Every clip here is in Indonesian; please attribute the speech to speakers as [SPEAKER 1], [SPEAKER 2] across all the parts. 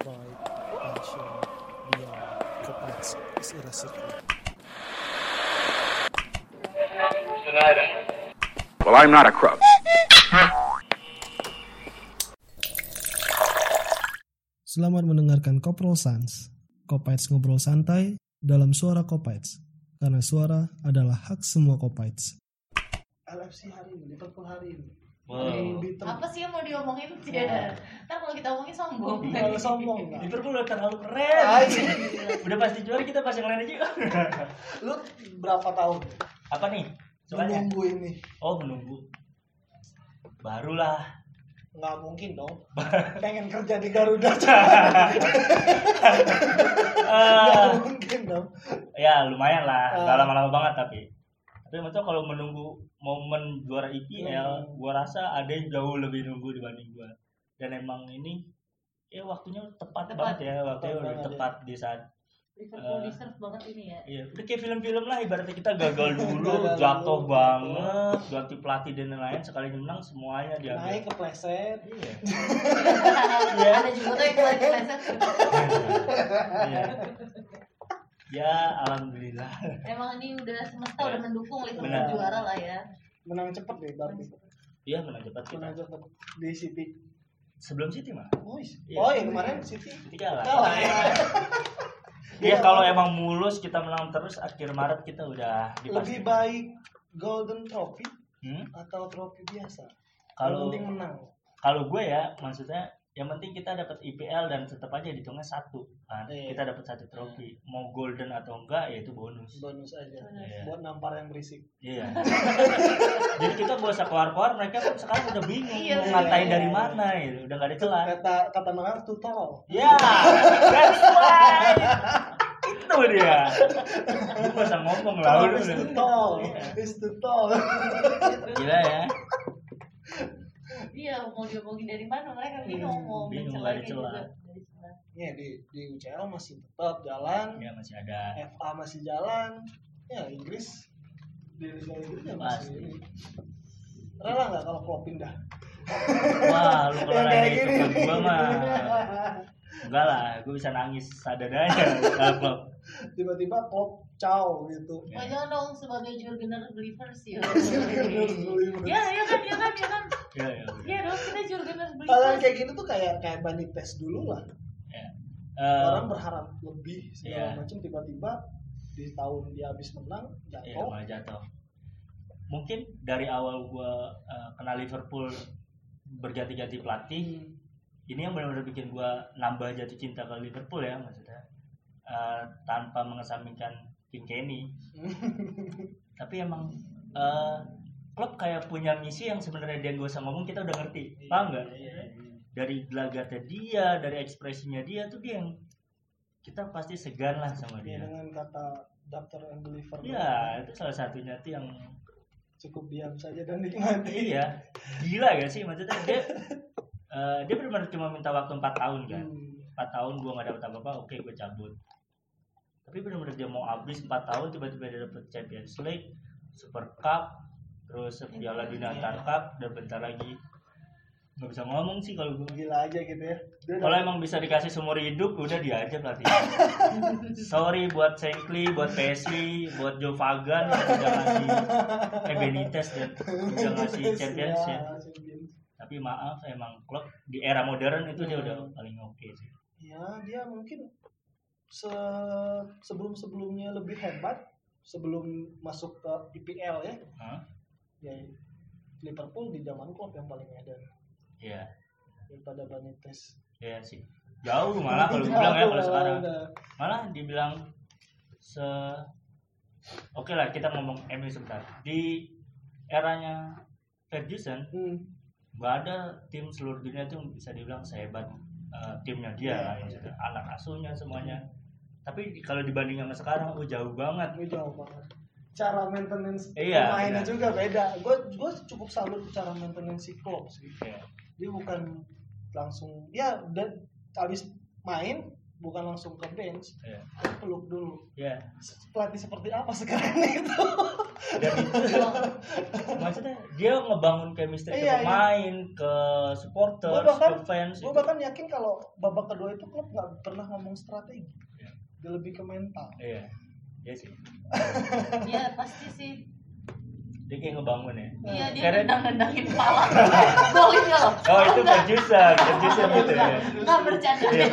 [SPEAKER 1] Vibe, passion, beyond. Copax is irascible.
[SPEAKER 2] Well, I'm not a crook.
[SPEAKER 1] Selamat mendengarkan Kopro Sans. Kopites ngobrol santai dalam suara Kopites. Karena suara adalah hak semua Kopites. LFC hari ini, Liverpool hari ini.
[SPEAKER 3] Wow.
[SPEAKER 4] apa sih yang mau
[SPEAKER 3] Iya.
[SPEAKER 4] diomongin Cia? ntar kalau kita omongin sombong
[SPEAKER 1] Oh, Iya, sombong
[SPEAKER 3] Liverpool udah terlalu keren. udah pasti juara kita pas yang lain aja.
[SPEAKER 1] Lu berapa tahun
[SPEAKER 3] Apa nih? Soalnya
[SPEAKER 1] ini?
[SPEAKER 3] oh menunggu. Barulah.
[SPEAKER 1] Nggak mungkin dong. Pengen kerja di Garuda.
[SPEAKER 3] Eh,
[SPEAKER 1] mungkin dong.
[SPEAKER 3] ya lumayan lah.
[SPEAKER 1] Ah.
[SPEAKER 3] Gak lama-lama banget tapi. Tapi maksudnya kalau menunggu momen juara
[SPEAKER 1] Hmm.
[SPEAKER 3] IPL, gua rasa ada yang jauh lebih nunggu dibanding gua. Dan emang ini ya waktunya tepat,
[SPEAKER 4] Tepat.
[SPEAKER 3] banget ya, waktunya
[SPEAKER 1] Tepat
[SPEAKER 3] udah
[SPEAKER 1] banget, ya.
[SPEAKER 3] tepat di saat
[SPEAKER 4] Liverpool
[SPEAKER 3] Eh.
[SPEAKER 4] deserve banget ini ya
[SPEAKER 3] Iya, udah kayak film-film lah ibaratnya kita gagal dulu,
[SPEAKER 1] Gagal
[SPEAKER 3] jatuh
[SPEAKER 1] dulu.
[SPEAKER 3] banget, ganti pelatih dan lain-lain, sekali menang semuanya diambil.
[SPEAKER 1] Naik kepleset.
[SPEAKER 3] Iya. Iya.
[SPEAKER 4] ada juga tuh yang lagi mindset
[SPEAKER 3] Iya. Ya, alhamdulillah.
[SPEAKER 4] emang ini udah semesta
[SPEAKER 3] Iya.
[SPEAKER 4] udah mendukung Liverpool
[SPEAKER 3] Benar.
[SPEAKER 4] juara lah ya
[SPEAKER 1] Menang cepet deh Derby.
[SPEAKER 3] Iya, menang cepat kita.
[SPEAKER 1] Menang cepet di City.
[SPEAKER 3] Sebelum City mah.
[SPEAKER 1] Boys.
[SPEAKER 3] Iya.
[SPEAKER 1] Oh, yang kemarin City
[SPEAKER 3] City kalah.
[SPEAKER 1] kalah ya.
[SPEAKER 3] Iya, kalau emang mulus kita menang terus akhir Maret kita udah
[SPEAKER 1] Lebih
[SPEAKER 3] dipastikan.
[SPEAKER 1] baik Golden Trophy
[SPEAKER 3] Hmm?
[SPEAKER 1] atau trofi biasa. Kalau
[SPEAKER 3] Kalau
[SPEAKER 1] penting menang.
[SPEAKER 3] kalau gue ya maksudnya yang penting kita dapat IPL dan tetap aja hitungnya satu kan
[SPEAKER 1] Iya.
[SPEAKER 3] kita dapat satu trofi mau golden atau enggak ya itu bonus
[SPEAKER 1] Bonus aja.
[SPEAKER 3] Iya.
[SPEAKER 1] Buat nampar yang berisik.
[SPEAKER 3] Iya. Jadi kita gak usah keluar-keluar, mereka kan sekarang udah bingung
[SPEAKER 4] Iya,
[SPEAKER 3] mau
[SPEAKER 4] bener.
[SPEAKER 3] ngatain dari mana gitu, udah gak ada celah.
[SPEAKER 1] Kata kata Neymar tutorial.
[SPEAKER 3] Ya, that's why. Itu dia. Lu gak usah ngomong lah.
[SPEAKER 1] Kalau
[SPEAKER 3] lu
[SPEAKER 1] is
[SPEAKER 3] udah.
[SPEAKER 1] tutorial,
[SPEAKER 3] Iya.
[SPEAKER 1] is tutorial.
[SPEAKER 3] Gila ya,
[SPEAKER 4] iya mau diomongin dari mana mereka bingung mau
[SPEAKER 3] Iya, Bingung,
[SPEAKER 4] mencelah
[SPEAKER 3] nggak ada
[SPEAKER 4] kayak
[SPEAKER 3] celah.
[SPEAKER 4] gitu. Dari celah.
[SPEAKER 1] Ya di di UCL masih tetap jalan,
[SPEAKER 3] ya masih ada.
[SPEAKER 1] FA masih jalan. Ya Inggris di Liga Inggris ya masih.
[SPEAKER 3] Pasti.
[SPEAKER 1] ini. Rela nggak kalau Klopp pindah?
[SPEAKER 3] Wah, lu kalau
[SPEAKER 1] Yang
[SPEAKER 3] nanya
[SPEAKER 1] kayak
[SPEAKER 3] itu
[SPEAKER 1] gini.
[SPEAKER 3] ke gua mah. Enggak lah, gua bisa nangis sadadanya. Kalau klub.
[SPEAKER 1] Tiba-tiba Klopp ciao gitu.
[SPEAKER 3] Iya.
[SPEAKER 4] Oh, jangan dong sebagai Jurgener Believers ya.
[SPEAKER 1] Jurgener Believers.
[SPEAKER 4] Ya, ya kan, ya kan, ya kan.
[SPEAKER 3] Ya, ya, udah.
[SPEAKER 4] Ya dong, kita Jurgener
[SPEAKER 1] Kalau yang
[SPEAKER 4] Believers.
[SPEAKER 1] kayak gini tuh kayak kayak bandit tes dulu lah.
[SPEAKER 3] Ya. Eh,
[SPEAKER 1] Orang berharap lebih segala
[SPEAKER 3] Iya.
[SPEAKER 1] macam tiba-tiba di tahun dia habis menang
[SPEAKER 3] Iya,
[SPEAKER 1] jatuh.
[SPEAKER 3] malah jatuh. Mungkin dari awal gua eh, kenal Liverpool berganti-ganti pelatih, ini yang benar-benar bikin gua nambah jatuh cinta ke Liverpool ya maksudnya. Eh, tanpa mengesampingkan King Kenny. Tapi emang eh, klub kayak punya misi yang sebenarnya dia gak usah ngomong kita udah ngerti. Paham nggak? Dari gelagatnya dia, dari ekspresinya dia tuh dia yang kita pasti segan lah sama
[SPEAKER 1] Ya,
[SPEAKER 3] dia.
[SPEAKER 1] dengan kata daftar and deliver
[SPEAKER 3] Iya, itu salah satunya tuh yang
[SPEAKER 1] cukup diam saja dan nikmati.
[SPEAKER 3] iya gila gak sih maksudnya dia eh, dia benar-benar cuma minta waktu 4 tahun kan
[SPEAKER 1] Hmm.
[SPEAKER 3] 4 tahun gua nggak dapet apa-apa oke gua cabut tapi benar-benar dia mau habis 4 tahun tiba-tiba dia dapet Champions League Super Cup terus Piala Dunia Antar Cup dan bentar lagi nggak bisa ngomong sih kalau gua
[SPEAKER 1] Gila aja gitu ya. Dia
[SPEAKER 3] kalau emang bisa dikasih seumur hidup udah dia aja pelatih sorry buat Shankly buat Pesli buat Joe Fagan yang udah ngasih eh, Benitez dan udah ngasih
[SPEAKER 1] Yes,
[SPEAKER 3] Champions
[SPEAKER 1] ya,
[SPEAKER 3] ya
[SPEAKER 1] Champions.
[SPEAKER 3] tapi maaf emang klub di era modern itu dia
[SPEAKER 1] Hmm.
[SPEAKER 3] udah paling oke sih
[SPEAKER 1] Ya, dia mungkin se sebelum sebelumnya lebih hebat sebelum masuk ke IPL ya.
[SPEAKER 3] Hah?
[SPEAKER 1] Ya, Liverpool di zaman Klopp yang paling edan
[SPEAKER 3] Iya,
[SPEAKER 1] daripada Benitez.
[SPEAKER 3] iya sih jauh malah kalau bilang ya kalau
[SPEAKER 1] Jauh,
[SPEAKER 3] sekarang
[SPEAKER 1] udah.
[SPEAKER 3] malah dibilang se oke lah kita ngomong MU sebentar di eranya Ferguson
[SPEAKER 1] Hmm.
[SPEAKER 3] nggak ada tim seluruh dunia itu bisa dibilang sehebat eh, timnya dia lah
[SPEAKER 1] Iya,
[SPEAKER 3] maksudnya anak asuhnya semuanya tapi di- kalau dibanding sama sekarang oh jauh banget
[SPEAKER 1] Ini jauh banget. Cara maintenance
[SPEAKER 3] Iya,
[SPEAKER 1] pemainnya
[SPEAKER 3] iya.
[SPEAKER 1] juga beda. Gue gue cukup salut cara maintenance si Klopp sih.
[SPEAKER 3] ya.
[SPEAKER 1] Dia bukan langsung dia udah habis main bukan langsung ke bench
[SPEAKER 3] Iya.
[SPEAKER 1] tapi peluk dulu
[SPEAKER 3] ya
[SPEAKER 1] pelatih seperti apa sekarang itu
[SPEAKER 3] dan itu maksudnya dia ngebangun
[SPEAKER 1] Iya,
[SPEAKER 3] chemistry
[SPEAKER 1] iya.
[SPEAKER 3] ke pemain ke supporter
[SPEAKER 1] Gua bahkan-
[SPEAKER 3] ke fans gitu.
[SPEAKER 1] gue bahkan yakin kalau babak kedua itu klub nggak pernah ngomong strategi
[SPEAKER 3] Iya.
[SPEAKER 1] dia lebih ke mental
[SPEAKER 3] iya iya sih
[SPEAKER 4] Iya pasti sih.
[SPEAKER 3] dia kayak ngebangun ya
[SPEAKER 4] Iya dia
[SPEAKER 3] Karena-
[SPEAKER 4] nendang-nendangin pala. Golin nggak loh?
[SPEAKER 3] oh itu producer producer gitu ya
[SPEAKER 4] Nggak bercanda.
[SPEAKER 3] iya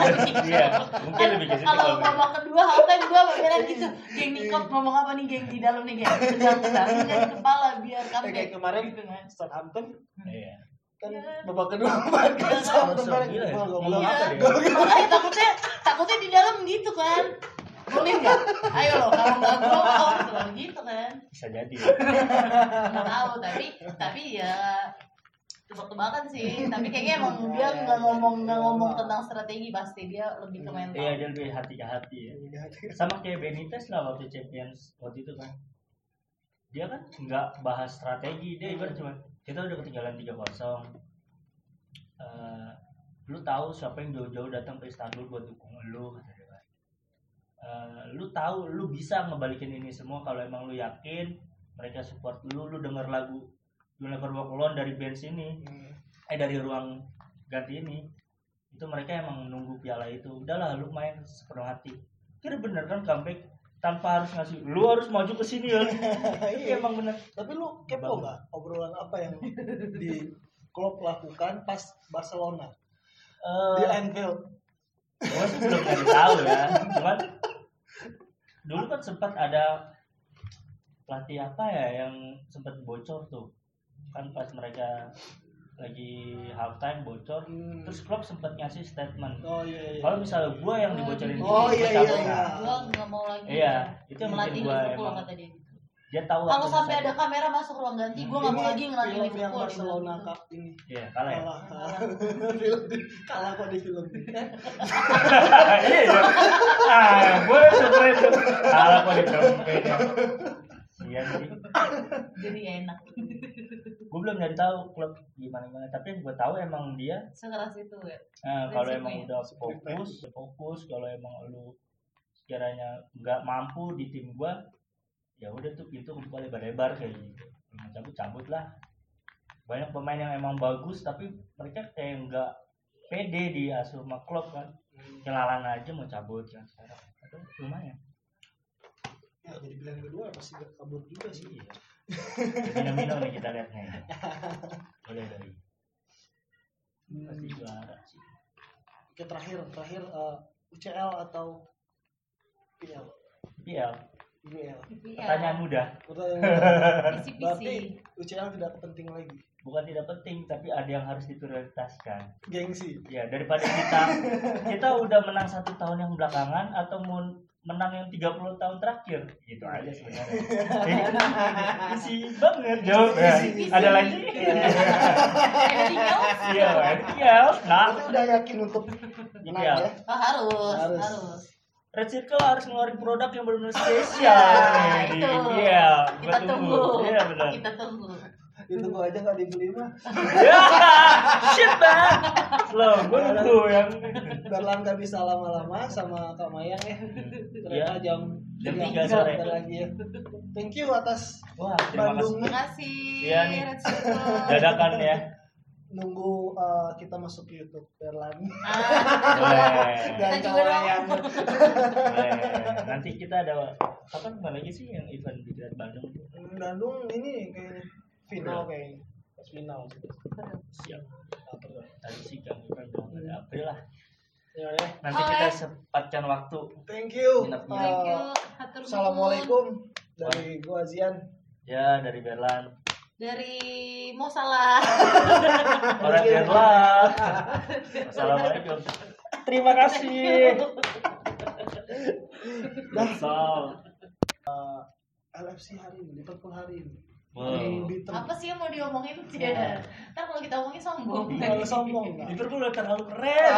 [SPEAKER 3] iya mungkin
[SPEAKER 4] Kan
[SPEAKER 3] lebih ke situ ya.
[SPEAKER 4] kalau
[SPEAKER 3] kalau
[SPEAKER 4] babak kedua aku kan gua mikirnya gitu geng nikop ngomong apa nih geng di dalam nih geng tendang tendangin kan di kepala biar
[SPEAKER 1] Eh, kayak
[SPEAKER 4] comeback
[SPEAKER 1] kemarin
[SPEAKER 4] gitu kan
[SPEAKER 1] Southampton
[SPEAKER 3] iya
[SPEAKER 1] kan
[SPEAKER 4] Iya.
[SPEAKER 1] babak kedua bahkan Southampton
[SPEAKER 3] Langsung,
[SPEAKER 1] bareng
[SPEAKER 3] gila ya.
[SPEAKER 1] gol gol
[SPEAKER 3] Ngomong
[SPEAKER 4] Iya.
[SPEAKER 3] apa
[SPEAKER 1] gol.
[SPEAKER 3] dia?
[SPEAKER 4] Makanya takutnya takutnya di dalam gitu kan. Golin nggak? Ayo loh, kalau nggak gol out loh gitu kan.
[SPEAKER 3] bisa jadi
[SPEAKER 4] Nggak tahu tapi tapi ya tebak-tebakan sih. Tapi kayaknya emang dia nggak ngomong nggak ngomong tentang strategi pasti dia lebih ke mental.
[SPEAKER 3] iya dia lebih hati ke hati ya
[SPEAKER 1] Iya,
[SPEAKER 3] sama kayak Benitez lah waktu Champions waktu itu kan dia kan nggak bahas strategi dia ibarat cuma kita udah ketinggalan 3-0 Eh, lu tahu siapa yang jauh-jauh datang ke Istanbul buat dukung lu kata dia kan. Eh, lu tahu lu bisa ngebalikin ini semua kalau emang lu yakin mereka support lu lu denger lagu You Never Walk Alone dari band sini eh dari ruang ganti ini itu mereka emang nunggu piala itu udahlah lu main sepenuh hati kira bener kan comeback tanpa harus ngasih lu harus maju ke sini ya
[SPEAKER 1] Iya.
[SPEAKER 3] Iya, emang bener
[SPEAKER 1] tapi lu kepo nggak obrolan apa yang di klub lakukan pas Barcelona di
[SPEAKER 3] Eh,
[SPEAKER 1] Anfield
[SPEAKER 3] gue sih belum pernah tahu ya cuman dulu kan sempat ada pelatih apa ya yang sempat bocor tuh kan pas mereka lagi halftime bocor
[SPEAKER 1] Hmm.
[SPEAKER 3] terus klub sempat ngasih statement
[SPEAKER 1] oh iya iya
[SPEAKER 3] kalau misalnya gua yang dibocorin
[SPEAKER 1] Oh,
[SPEAKER 3] gua
[SPEAKER 1] iya, iya,
[SPEAKER 3] cabut,
[SPEAKER 1] iya.
[SPEAKER 3] nah.
[SPEAKER 4] Gua nggak mau lagi.
[SPEAKER 3] Iya, itu yang
[SPEAKER 4] melatih
[SPEAKER 3] bikin gua
[SPEAKER 4] Liverpool
[SPEAKER 3] emang- Oh,
[SPEAKER 4] kata dia.
[SPEAKER 3] dia tahu
[SPEAKER 4] Kalau
[SPEAKER 3] aku
[SPEAKER 4] sampai
[SPEAKER 3] bisa-
[SPEAKER 4] ada kamera masuk ruang ganti, gua nggak mau
[SPEAKER 1] Ini
[SPEAKER 4] lagi ngelatih
[SPEAKER 1] film yang
[SPEAKER 4] Liverpool. dia bilang
[SPEAKER 1] Barcelona
[SPEAKER 4] gitu.
[SPEAKER 1] Cup ini
[SPEAKER 3] iya kalah ya
[SPEAKER 1] kalah film di- kalah kok di film Ya,
[SPEAKER 3] iya dong. ah gue super itu kalah kok di trompet ya iya sih
[SPEAKER 4] Jadi nggak enak.
[SPEAKER 3] gue belum nyari tahu klub gimana gimana tapi yang gue tahu emang dia
[SPEAKER 4] Sekeras itu ya.
[SPEAKER 3] eh, kalau emang
[SPEAKER 4] Prinsipnya.
[SPEAKER 3] udah fokus fokus kalau emang lu sekiranya nggak mampu di tim gue ya udah tuh pintu kebuka lebar-lebar kayak gitu Lu mau cabut cabut lah banyak pemain yang emang bagus tapi mereka kayak nggak pede di asuh sama klub kan kelalan aja mau cabut kan sekarang Aduh, lumayan
[SPEAKER 1] ya jadi pilihan kedua pasti gak kabur juga sih
[SPEAKER 3] iya minum-minum nih kita lihat nih boleh dari pasti
[SPEAKER 1] Hmm.
[SPEAKER 3] juara sih
[SPEAKER 1] Oke terakhir terakhir eh, UCL atau PL
[SPEAKER 3] ya
[SPEAKER 1] UCL
[SPEAKER 4] Iya.
[SPEAKER 3] pertanyaan mudah
[SPEAKER 1] Pertanyaan-
[SPEAKER 4] Pisi-pisi.
[SPEAKER 1] berarti UCL tidak penting lagi
[SPEAKER 3] bukan tidak penting tapi ada yang harus diprioritaskan
[SPEAKER 1] gengsi
[SPEAKER 3] ya daripada kita kita udah menang satu tahun yang belakangan atau mau menang yang 30 tahun terakhir gitu aja sebenarnya isi banget jawab
[SPEAKER 4] Isi-isi.
[SPEAKER 3] ada lagi
[SPEAKER 4] Anything else?
[SPEAKER 3] iya iya nah
[SPEAKER 1] berarti udah yakin untuk menang
[SPEAKER 3] Iya.
[SPEAKER 1] ya
[SPEAKER 4] Oh, harus,
[SPEAKER 1] Harus.
[SPEAKER 4] harus.
[SPEAKER 3] Red Circle harus ngeluarin produk yang benar-benar spesial.
[SPEAKER 4] Nah,
[SPEAKER 3] nih.
[SPEAKER 4] itu.
[SPEAKER 3] Iya, gua
[SPEAKER 4] Kita tunggu.
[SPEAKER 3] Iya, benar.
[SPEAKER 4] Kita tunggu.
[SPEAKER 1] itu gua aja nggak dibeli mah
[SPEAKER 3] Ya, shit man. Slow, gua nunggu yang
[SPEAKER 1] Darlan nggak bisa lama-lama sama Kak Mayang ya ternyata
[SPEAKER 3] Iya.
[SPEAKER 1] jam
[SPEAKER 3] Jam
[SPEAKER 1] jam
[SPEAKER 3] tiga
[SPEAKER 1] tiga
[SPEAKER 3] sore.
[SPEAKER 1] bentar lagi ya thank you atas
[SPEAKER 3] Wah, terima kasih.
[SPEAKER 4] Terima
[SPEAKER 1] Bandungnya
[SPEAKER 4] kasih.
[SPEAKER 3] Iya, nih.
[SPEAKER 4] Red Circle.
[SPEAKER 3] Dadakan ya.
[SPEAKER 1] nunggu eh, kita masuk YouTube Darlan
[SPEAKER 4] Ah,
[SPEAKER 3] Boleh.
[SPEAKER 1] dan Kak
[SPEAKER 4] Kita juga dong.
[SPEAKER 1] Mayang
[SPEAKER 3] Boleh. Nanti kita ada kapan kemarin lagi sih yang event di Grand Bandung?
[SPEAKER 1] Bandung ini kayaknya final
[SPEAKER 3] Iya.
[SPEAKER 1] kayaknya Pas final
[SPEAKER 3] Siap. Tadi sih kami kan bilang ada April lah.
[SPEAKER 1] ya udah
[SPEAKER 3] Nanti
[SPEAKER 4] Oke.
[SPEAKER 3] kita sempatkan waktu.
[SPEAKER 1] thank you
[SPEAKER 3] Minap, minap.
[SPEAKER 4] Thank you.
[SPEAKER 1] Eh,
[SPEAKER 4] Hatur nuhun.
[SPEAKER 1] Assalamualaikum dari gua Zian
[SPEAKER 3] Ya dari Berlan.
[SPEAKER 4] Dari mau salah.
[SPEAKER 3] Orang Berlan. Assalamualaikum. Terima kasih. Dah.
[SPEAKER 1] LFC hari ini Liverpool hari ini
[SPEAKER 3] Wow.
[SPEAKER 1] Beaten.
[SPEAKER 4] Apa sih yang mau diomongin?
[SPEAKER 3] Oh.
[SPEAKER 4] Iya. Ntar kalau kita omongin sombong.
[SPEAKER 1] Kalau sombong nggak?
[SPEAKER 3] Liverpool udah terlalu keren.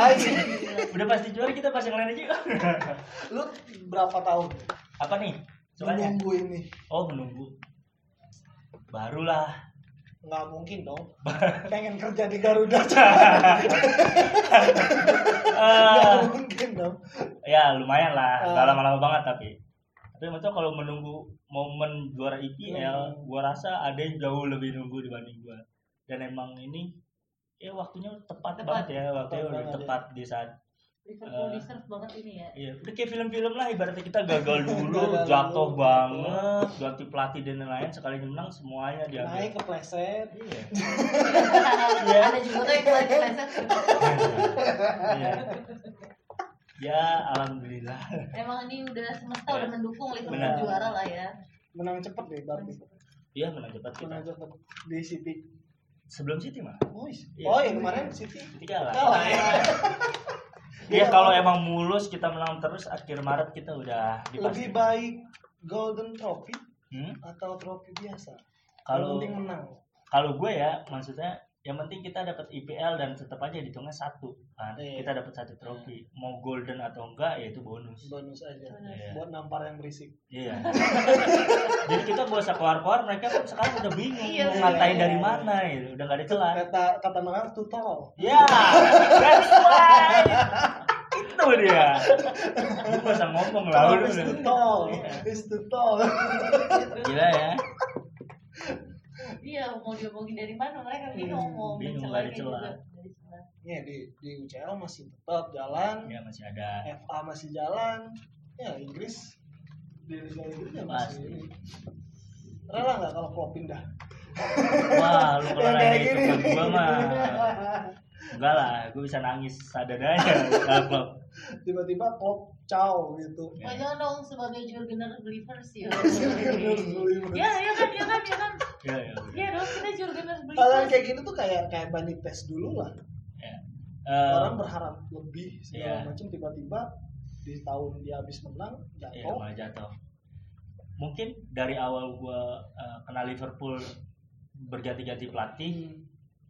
[SPEAKER 3] Udah pasti juara kita pas yang lain aja.
[SPEAKER 1] lu berapa tahun
[SPEAKER 3] Apa nih? Soalnya
[SPEAKER 1] menunggu ini
[SPEAKER 3] oh menunggu. Barulah
[SPEAKER 1] nggak mungkin dong pengen kerja di Garuda nggak
[SPEAKER 3] Eh,
[SPEAKER 1] mungkin dong
[SPEAKER 3] ya lumayan lah
[SPEAKER 1] Ah.
[SPEAKER 3] nggak lama-lama banget tapi tapi maksudnya kalau menunggu momen juara IPL
[SPEAKER 1] Hmm.
[SPEAKER 3] gua rasa ada yang jauh lebih nunggu dibanding gua dan emang ini ya waktunya tepat, banget
[SPEAKER 4] Tepat.
[SPEAKER 3] ya waktunya
[SPEAKER 1] Tepat
[SPEAKER 3] lebih
[SPEAKER 1] banget,
[SPEAKER 3] tepat di saat
[SPEAKER 4] Liverpool
[SPEAKER 3] Eh.
[SPEAKER 4] deserve banget ini ya.
[SPEAKER 3] Iya, udah kayak film-film lah ibaratnya kita gagal dulu,
[SPEAKER 1] Gagal
[SPEAKER 3] jatuh
[SPEAKER 1] dulu,
[SPEAKER 3] banget, ganti pelatih dan lain-lain, sekali menang semuanya
[SPEAKER 1] naik
[SPEAKER 3] diambil.
[SPEAKER 1] kepleset
[SPEAKER 3] Iya. Iya.
[SPEAKER 4] Ada juga tuh yang lagi mindset.
[SPEAKER 3] Iya. Ya, alhamdulillah.
[SPEAKER 4] Emang ini udah semesta
[SPEAKER 3] Iya.
[SPEAKER 4] udah mendukung Liverpool
[SPEAKER 3] Benar.
[SPEAKER 4] juara lah ya.
[SPEAKER 1] menang cepet deh berarti
[SPEAKER 3] Iya, menang cepat kita.
[SPEAKER 1] menang cepet di City
[SPEAKER 3] Sebelum City mah.
[SPEAKER 1] Boys.
[SPEAKER 3] Iya.
[SPEAKER 1] oh ya kemarin City
[SPEAKER 3] City kalah.
[SPEAKER 1] kalah ya
[SPEAKER 3] Iya, kalau emang mulus kita menang terus akhir Maret kita udah
[SPEAKER 1] lebih
[SPEAKER 3] dipastikan.
[SPEAKER 1] baik Golden Trophy
[SPEAKER 3] Hmm?
[SPEAKER 1] atau trofi biasa
[SPEAKER 3] Kalau-
[SPEAKER 1] kalau penting menang
[SPEAKER 3] kalau gue ya maksudnya yang penting kita dapat IPL dan tetap aja dihitungnya satu kan
[SPEAKER 1] Iya.
[SPEAKER 3] kita dapat satu trofi mau golden atau enggak ya itu bonus
[SPEAKER 1] bonus aja
[SPEAKER 3] Iya.
[SPEAKER 1] buat nampar yang berisik
[SPEAKER 3] iya jadi kita gak usah keluar-keluar mereka kan sekarang udah bingung mau
[SPEAKER 4] Iya, bener.
[SPEAKER 3] ngatain dari mana gitu udah gak ada celah
[SPEAKER 1] kata kata Neymar tutorial
[SPEAKER 3] ya that's why itu dia gue gak usah ngomong lah
[SPEAKER 1] Tol
[SPEAKER 3] udah
[SPEAKER 1] is too tall,
[SPEAKER 3] Iya.
[SPEAKER 1] is too tall.
[SPEAKER 3] gila ya
[SPEAKER 4] Iya mau diomongin dari mana mereka bingung
[SPEAKER 1] Hmm,
[SPEAKER 4] mau
[SPEAKER 3] Iya, bingung,
[SPEAKER 4] mencelah
[SPEAKER 3] nggak ada
[SPEAKER 4] kayak
[SPEAKER 3] celah.
[SPEAKER 4] gitu. Dari celah.
[SPEAKER 1] Ya di di UCL masih tetap jalan,
[SPEAKER 3] ya masih ada
[SPEAKER 1] FA masih jalan, ya Inggris di Liga Inggris ya masih.
[SPEAKER 3] Pasti.
[SPEAKER 1] ini. Rela nggak kalau Klopp pindah?
[SPEAKER 3] wah lu kalau
[SPEAKER 1] Yang
[SPEAKER 3] nanya
[SPEAKER 1] kayak
[SPEAKER 3] itu
[SPEAKER 1] gini.
[SPEAKER 3] ke gue mah enggak lah gue bisa nangis sadadanya kalau klub
[SPEAKER 1] Tiba-tiba Klopp caw gitu.
[SPEAKER 3] Iya. Ya,
[SPEAKER 4] Wah jangan dong sebagai Jurgener believers ya.
[SPEAKER 1] Jurgener believers.
[SPEAKER 4] Ya ya kan ya kan ya kan.
[SPEAKER 3] ya ya
[SPEAKER 4] Ya dong kita Jurgener
[SPEAKER 1] Hal yang
[SPEAKER 4] believers.
[SPEAKER 1] kayak gini tuh kayak kayak bandit tes dulu lah.
[SPEAKER 3] ya. Eh,
[SPEAKER 1] Orang berharap lebih segala
[SPEAKER 3] Iya.
[SPEAKER 1] macam tiba-tiba di tahun dia habis menang
[SPEAKER 3] iya,
[SPEAKER 1] jatuh.
[SPEAKER 3] malah jatuh mungkin dari awal gue kenal Liverpool berganti-ganti pelatih
[SPEAKER 1] Iya.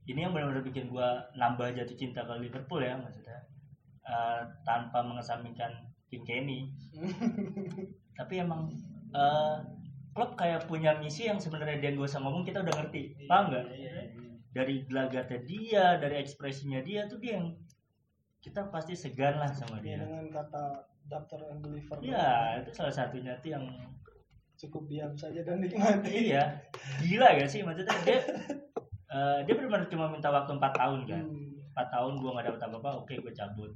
[SPEAKER 3] ini yang benar-benar bikin gue nambah jati cinta ke Liverpool ya maksudnya Eh, tanpa mengesampingkan King Kenny tapi emang eh, klub kayak punya misi yang sebenarnya dia gak usah ngomong kita udah ngerti paham nggak dari gelagatnya dia dari ekspresinya dia tuh dia yang kita pasti segan lah sama
[SPEAKER 1] Ya,
[SPEAKER 3] dia
[SPEAKER 1] dengan kata daftar and deliver
[SPEAKER 3] Iya, itu salah satunya tuh yang
[SPEAKER 1] cukup diam saja dan nikmati
[SPEAKER 3] iya gila gak sih maksudnya dia eh, dia benar-benar cuma minta waktu 4 tahun kan.
[SPEAKER 1] Hmm.
[SPEAKER 3] 4 tahun gua nggak dapet apa-apa, oke gua cabut.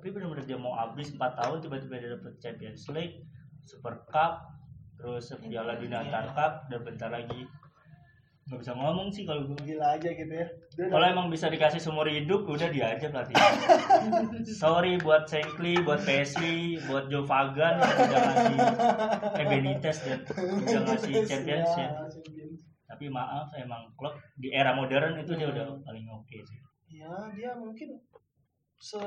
[SPEAKER 3] Tapi benar-benar dia mau habis 4 tahun tiba-tiba dia dapet Champions League, Super Cup, terus Piala Dunia Antar Cup dan bentar lagi nggak bisa ngomong sih kalau gua.
[SPEAKER 1] gila aja gitu ya Dia
[SPEAKER 3] Kalau
[SPEAKER 1] udah-
[SPEAKER 3] emang bisa dikasih seumur hidup, udah dia aja pelatih. Sorry buat Shankly, buat Pesli, buat Joe Fagan yang udah ngasih eh, Benitez dan udah ngasih
[SPEAKER 1] Yes,
[SPEAKER 3] Champions
[SPEAKER 1] ya,
[SPEAKER 3] ya.
[SPEAKER 1] Champions.
[SPEAKER 3] Tapi maaf, emang klub di era modern itu dia udah paling oke sih.
[SPEAKER 1] ya dia mungkin se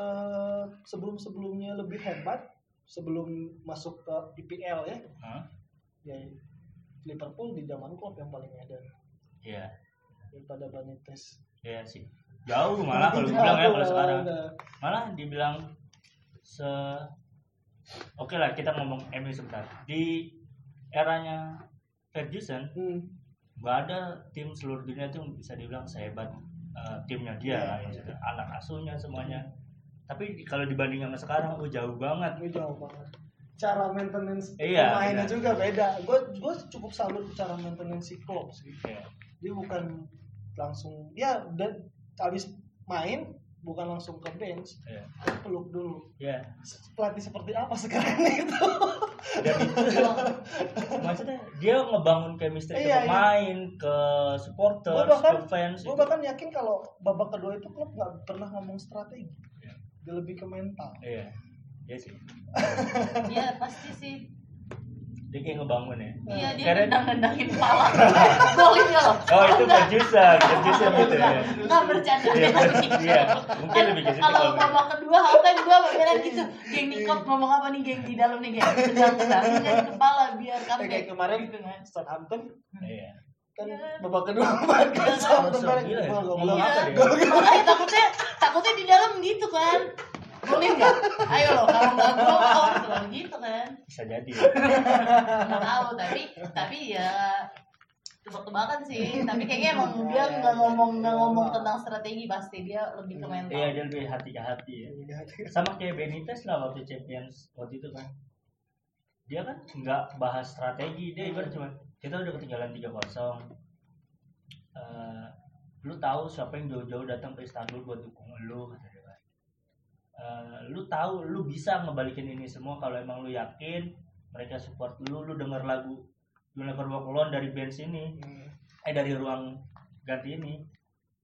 [SPEAKER 1] sebelum sebelumnya lebih hebat sebelum masuk ke IPL ya
[SPEAKER 3] Hah?
[SPEAKER 1] ya Liverpool di zaman klub yang paling edan
[SPEAKER 3] Iya,
[SPEAKER 1] daripada Benitez
[SPEAKER 3] iya sih. Jauh malah kalau bilang ya kalau sekarang.
[SPEAKER 1] Udah.
[SPEAKER 3] Malah dibilang se Oke lah, kita ngomong MU sebentar. Di eranya Ferguson,
[SPEAKER 1] Hmm.
[SPEAKER 3] nggak ada tim seluruh dunia itu yang bisa dibilang sehebat eh, timnya
[SPEAKER 1] Iya,
[SPEAKER 3] dia lah, maksudnya anak asuhnya semuanya tapi di- kalau dibanding sama sekarang oh jauh banget
[SPEAKER 1] Ini jauh banget. Cara maintenance
[SPEAKER 3] Iya,
[SPEAKER 1] pemainnya
[SPEAKER 3] iya.
[SPEAKER 1] juga beda. Gue gue cukup salut cara maintenance si Klopp sih.
[SPEAKER 3] ya,
[SPEAKER 1] Dia bukan langsung ya dan habis main bukan langsung ke bench,
[SPEAKER 3] ya.
[SPEAKER 1] dia peluk dulu.
[SPEAKER 3] ya.
[SPEAKER 1] Pelatih seperti apa sekarang gitu. itu?
[SPEAKER 3] Dan itu maksudnya dia ngebangun chemistry
[SPEAKER 1] Iya, iya.
[SPEAKER 3] ke pemain ke
[SPEAKER 1] Gua
[SPEAKER 3] supporter
[SPEAKER 1] bahkan-
[SPEAKER 3] ke fans
[SPEAKER 1] Gue bahkan yakin kalau babak kedua itu klub nggak pernah ngomong strategi.
[SPEAKER 3] Iya.
[SPEAKER 1] Dia lebih ke mental.
[SPEAKER 3] iya iya sih
[SPEAKER 4] Iya pasti sih.
[SPEAKER 3] dia kayak ngebangun ya
[SPEAKER 4] Iya dia
[SPEAKER 3] Karena-
[SPEAKER 4] nendang-nendangin pala. Golin nggak loh.
[SPEAKER 3] oh itu Ferguson Ferguson gitu ya
[SPEAKER 4] Enggak bercanda
[SPEAKER 3] Iya,
[SPEAKER 4] memang gitu.
[SPEAKER 3] iya. Mungkin
[SPEAKER 4] Kan
[SPEAKER 3] lebih ke situ
[SPEAKER 4] Kalau
[SPEAKER 3] kalau-
[SPEAKER 4] babak kedua halftime gua beneran gitu. Geng di klub ngomong apa nih geng di dalam nih geng. Tendang-tendangin kan di kepala biar
[SPEAKER 1] Eh, kayak
[SPEAKER 4] comeback.
[SPEAKER 1] kemarin
[SPEAKER 4] Gitu kan.
[SPEAKER 1] Southampton
[SPEAKER 3] iya
[SPEAKER 1] kan
[SPEAKER 4] Iya.
[SPEAKER 1] babak kedua kemarin kan
[SPEAKER 4] Iya,
[SPEAKER 1] Southampton
[SPEAKER 3] langsung.
[SPEAKER 1] bareng
[SPEAKER 3] Gila ya.
[SPEAKER 1] gol gol
[SPEAKER 3] Iya.
[SPEAKER 1] apa ya?
[SPEAKER 3] Iya.
[SPEAKER 1] dia?
[SPEAKER 4] Makanya takutnya takutnya di dalam gitu kan. Golin nggak? Ayo loh kalau nggak gol out loh gitu kan.
[SPEAKER 3] bisa jadi
[SPEAKER 4] Nggak tahu tapi tapi ya tebak-tebakan sih tapi kayaknya emang dia nggak ngomong nggak ngomong tentang strategi pasti dia lebih ke mental
[SPEAKER 3] Iya dia lebih hati ke hati
[SPEAKER 1] Iya,
[SPEAKER 3] ya.
[SPEAKER 1] gitu.
[SPEAKER 3] Sama kayak Benitez lah waktu Champions waktu itu kan. Dia kan nggak bahas strategi dia ibarat cuma kita udah ketinggalan 3-0. Eh, lu tahu siapa yang jauh-jauh datang ke Istanbul buat dukung lu kata dia kan. Eh, lu tahu lu bisa ngebalikin ini semua kalau emang lu yakin mereka support lu lu denger lagu You Never Walk Alone dari band sini eh dari ruang ganti ini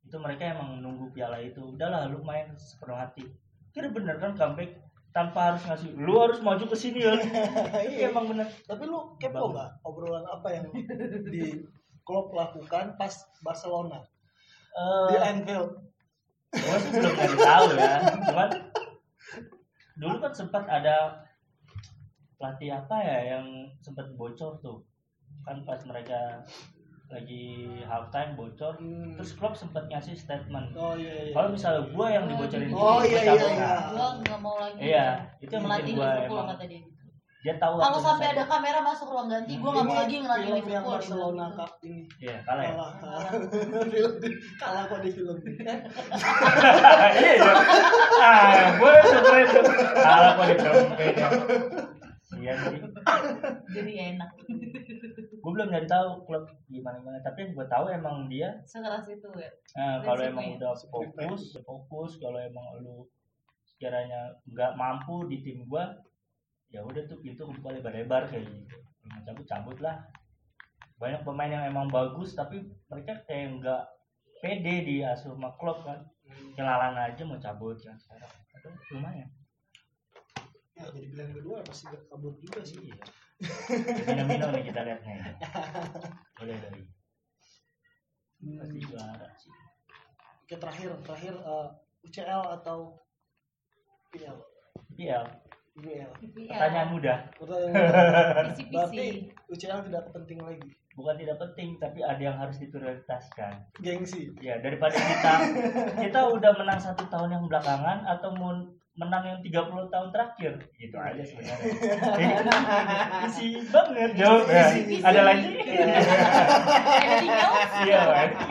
[SPEAKER 3] itu mereka emang nunggu piala itu udahlah lu main sepenuh hati kira bener kan comeback tanpa harus ngasih lu harus maju ke sini ya Itu
[SPEAKER 1] Iya.
[SPEAKER 3] emang bener
[SPEAKER 1] Tapi lu kepo nggak obrolan apa yang di Klopp lakukan pas Barcelona di
[SPEAKER 3] Eh,
[SPEAKER 1] Anfield?
[SPEAKER 3] gua sih belum ada tahu ya cuman dulu kan sempat ada pelatih apa ya yang sempat bocor tuh kan pas mereka lagi halftime bocor
[SPEAKER 1] Hmm.
[SPEAKER 3] terus Klopp sempat ngasih statement
[SPEAKER 1] Oh iya. iya.
[SPEAKER 3] kalau misalnya gua yang dibocorin
[SPEAKER 1] Oh,
[SPEAKER 3] gini,
[SPEAKER 1] iya, iya,
[SPEAKER 3] gua cabut,
[SPEAKER 1] iya.
[SPEAKER 3] nah.
[SPEAKER 4] gua nggak mau lagi
[SPEAKER 3] Iya, itu yang
[SPEAKER 4] melatih
[SPEAKER 3] bikin gua
[SPEAKER 4] Liverpool
[SPEAKER 3] emang
[SPEAKER 4] kata dia
[SPEAKER 3] dia tahu aku
[SPEAKER 4] kalau sampai
[SPEAKER 3] bisa-
[SPEAKER 4] ada kamera masuk ruang ganti gua nggak mau lagi ngelatih
[SPEAKER 1] film yang
[SPEAKER 4] Liverpool
[SPEAKER 1] Barcelona Cup ini
[SPEAKER 3] Iya, kalah
[SPEAKER 4] Oh.
[SPEAKER 3] ya.
[SPEAKER 1] kalah film di- kalah kok di film
[SPEAKER 3] Iya dong. Ah, gue keren tuh. Kalah kok di trompet. Iya sih.
[SPEAKER 4] jadi nggak enak
[SPEAKER 3] Gue belum nyari tahu klub gimana gimana. Tapi yang gue tahu emang dia
[SPEAKER 4] sekeras itu ya
[SPEAKER 3] eh, kalau
[SPEAKER 4] Prinsipnya.
[SPEAKER 3] emang udah fokus, fokus kalau emang lu sekiranya nggak mampu di tim gue, ya udah tuh pintu kebuka lebar-lebar kayak gitu. Lu mau cabut cabut lah. Banyak pemain yang emang bagus tapi mereka kayak nggak pede di asuh sama klub kan. Kelalan aja mau cabut kan sekarang. Aduh, lumayan.
[SPEAKER 1] ya jadi pilihan kedua pasti gak kabur juga sih
[SPEAKER 3] Iya. Minum-minum nih kita lihat nih. Boleh dari pasti
[SPEAKER 1] hmm.
[SPEAKER 3] juara sih.
[SPEAKER 1] oke terakhir terakhir eh, UCL atau PL
[SPEAKER 3] Iya,
[SPEAKER 1] UCL
[SPEAKER 4] ya,
[SPEAKER 3] pertanyaan mudah.
[SPEAKER 1] pertanyaan
[SPEAKER 4] pisi-pisi
[SPEAKER 1] berarti UCL tidak penting lagi
[SPEAKER 3] Bukan tidak penting, tapi ada yang harus diprioritaskan.
[SPEAKER 1] gengsi
[SPEAKER 3] Ya, daripada kita kita udah menang satu tahun yang belakangan atau mau menang yang 30 tahun terakhir gitu aja sebenarnya. Isi banget jawab. Ya.
[SPEAKER 4] Isi.
[SPEAKER 3] Ada lagi?
[SPEAKER 4] Anything else?
[SPEAKER 3] Iya,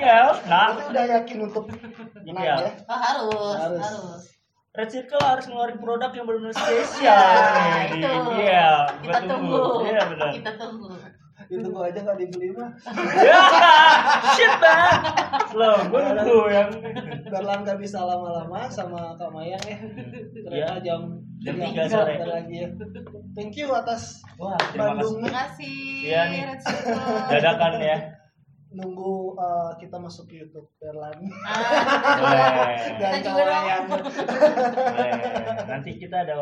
[SPEAKER 3] iya. Nah,
[SPEAKER 1] Berarti Ah, udah yakin untuk menang
[SPEAKER 3] Iya.
[SPEAKER 1] ya
[SPEAKER 4] Oh, harus,
[SPEAKER 1] Harus.
[SPEAKER 4] harus.
[SPEAKER 3] Red Circle harus ngeluarin produk yang benar-benar spesial.
[SPEAKER 4] Nah,
[SPEAKER 3] nih.
[SPEAKER 4] itu.
[SPEAKER 3] Iya, gua
[SPEAKER 4] Kita tunggu.
[SPEAKER 3] Iya benar.
[SPEAKER 4] Kita tunggu.
[SPEAKER 1] ditunggu aja nggak dibeli mah
[SPEAKER 3] Ya, shit man. Slow, gua nunggu ya. yang
[SPEAKER 1] Darlan nggak bisa lama-lama sama Kak Mayang ya ternyata
[SPEAKER 3] Iya.
[SPEAKER 1] jam
[SPEAKER 3] Jam
[SPEAKER 1] jam
[SPEAKER 3] tiga
[SPEAKER 1] tiga
[SPEAKER 3] sore.
[SPEAKER 1] bentar lagi ya thank you atas
[SPEAKER 3] Wah, terima kasih.
[SPEAKER 4] Terima
[SPEAKER 1] Bandungnya
[SPEAKER 4] kasih.
[SPEAKER 3] Iya nih.
[SPEAKER 4] Red Circle.
[SPEAKER 3] Dadakan ya.
[SPEAKER 1] nunggu eh, kita masuk YouTube Darlan
[SPEAKER 4] Ah,
[SPEAKER 3] Boleh.
[SPEAKER 4] Kita
[SPEAKER 1] dan
[SPEAKER 4] juga dong.
[SPEAKER 1] kawayan
[SPEAKER 3] Boleh. Nanti kita ada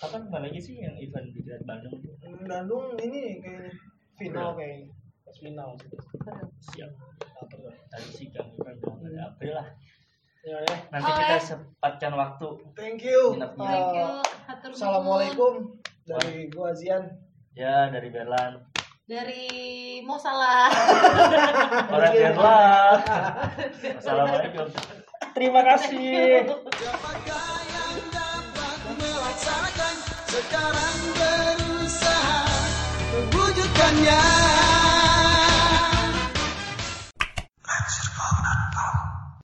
[SPEAKER 3] kapan kembali lagi sih yang event di Grand Bandung?
[SPEAKER 1] Hmm, Bandung ini kayaknya final kayaknya pas final sih.
[SPEAKER 3] Siap. Tadi sih kami kan bilang ada April lah.
[SPEAKER 1] ya udah
[SPEAKER 3] Nanti
[SPEAKER 4] Oke.
[SPEAKER 3] kita sempatkan waktu.
[SPEAKER 1] thank you
[SPEAKER 3] Minap, minap.
[SPEAKER 4] Thank you.
[SPEAKER 1] Eh,
[SPEAKER 4] Hatur nuhun.
[SPEAKER 1] assalamualaikum dari gua Zian
[SPEAKER 3] Ya dari Berlan.
[SPEAKER 4] Dari Mo Salah.
[SPEAKER 3] Orang Berlan. Assalamualaikum. Terima kasih.
[SPEAKER 5] Siapakah yang dapat melaksanakan sekarang berusaha mewujudkannya?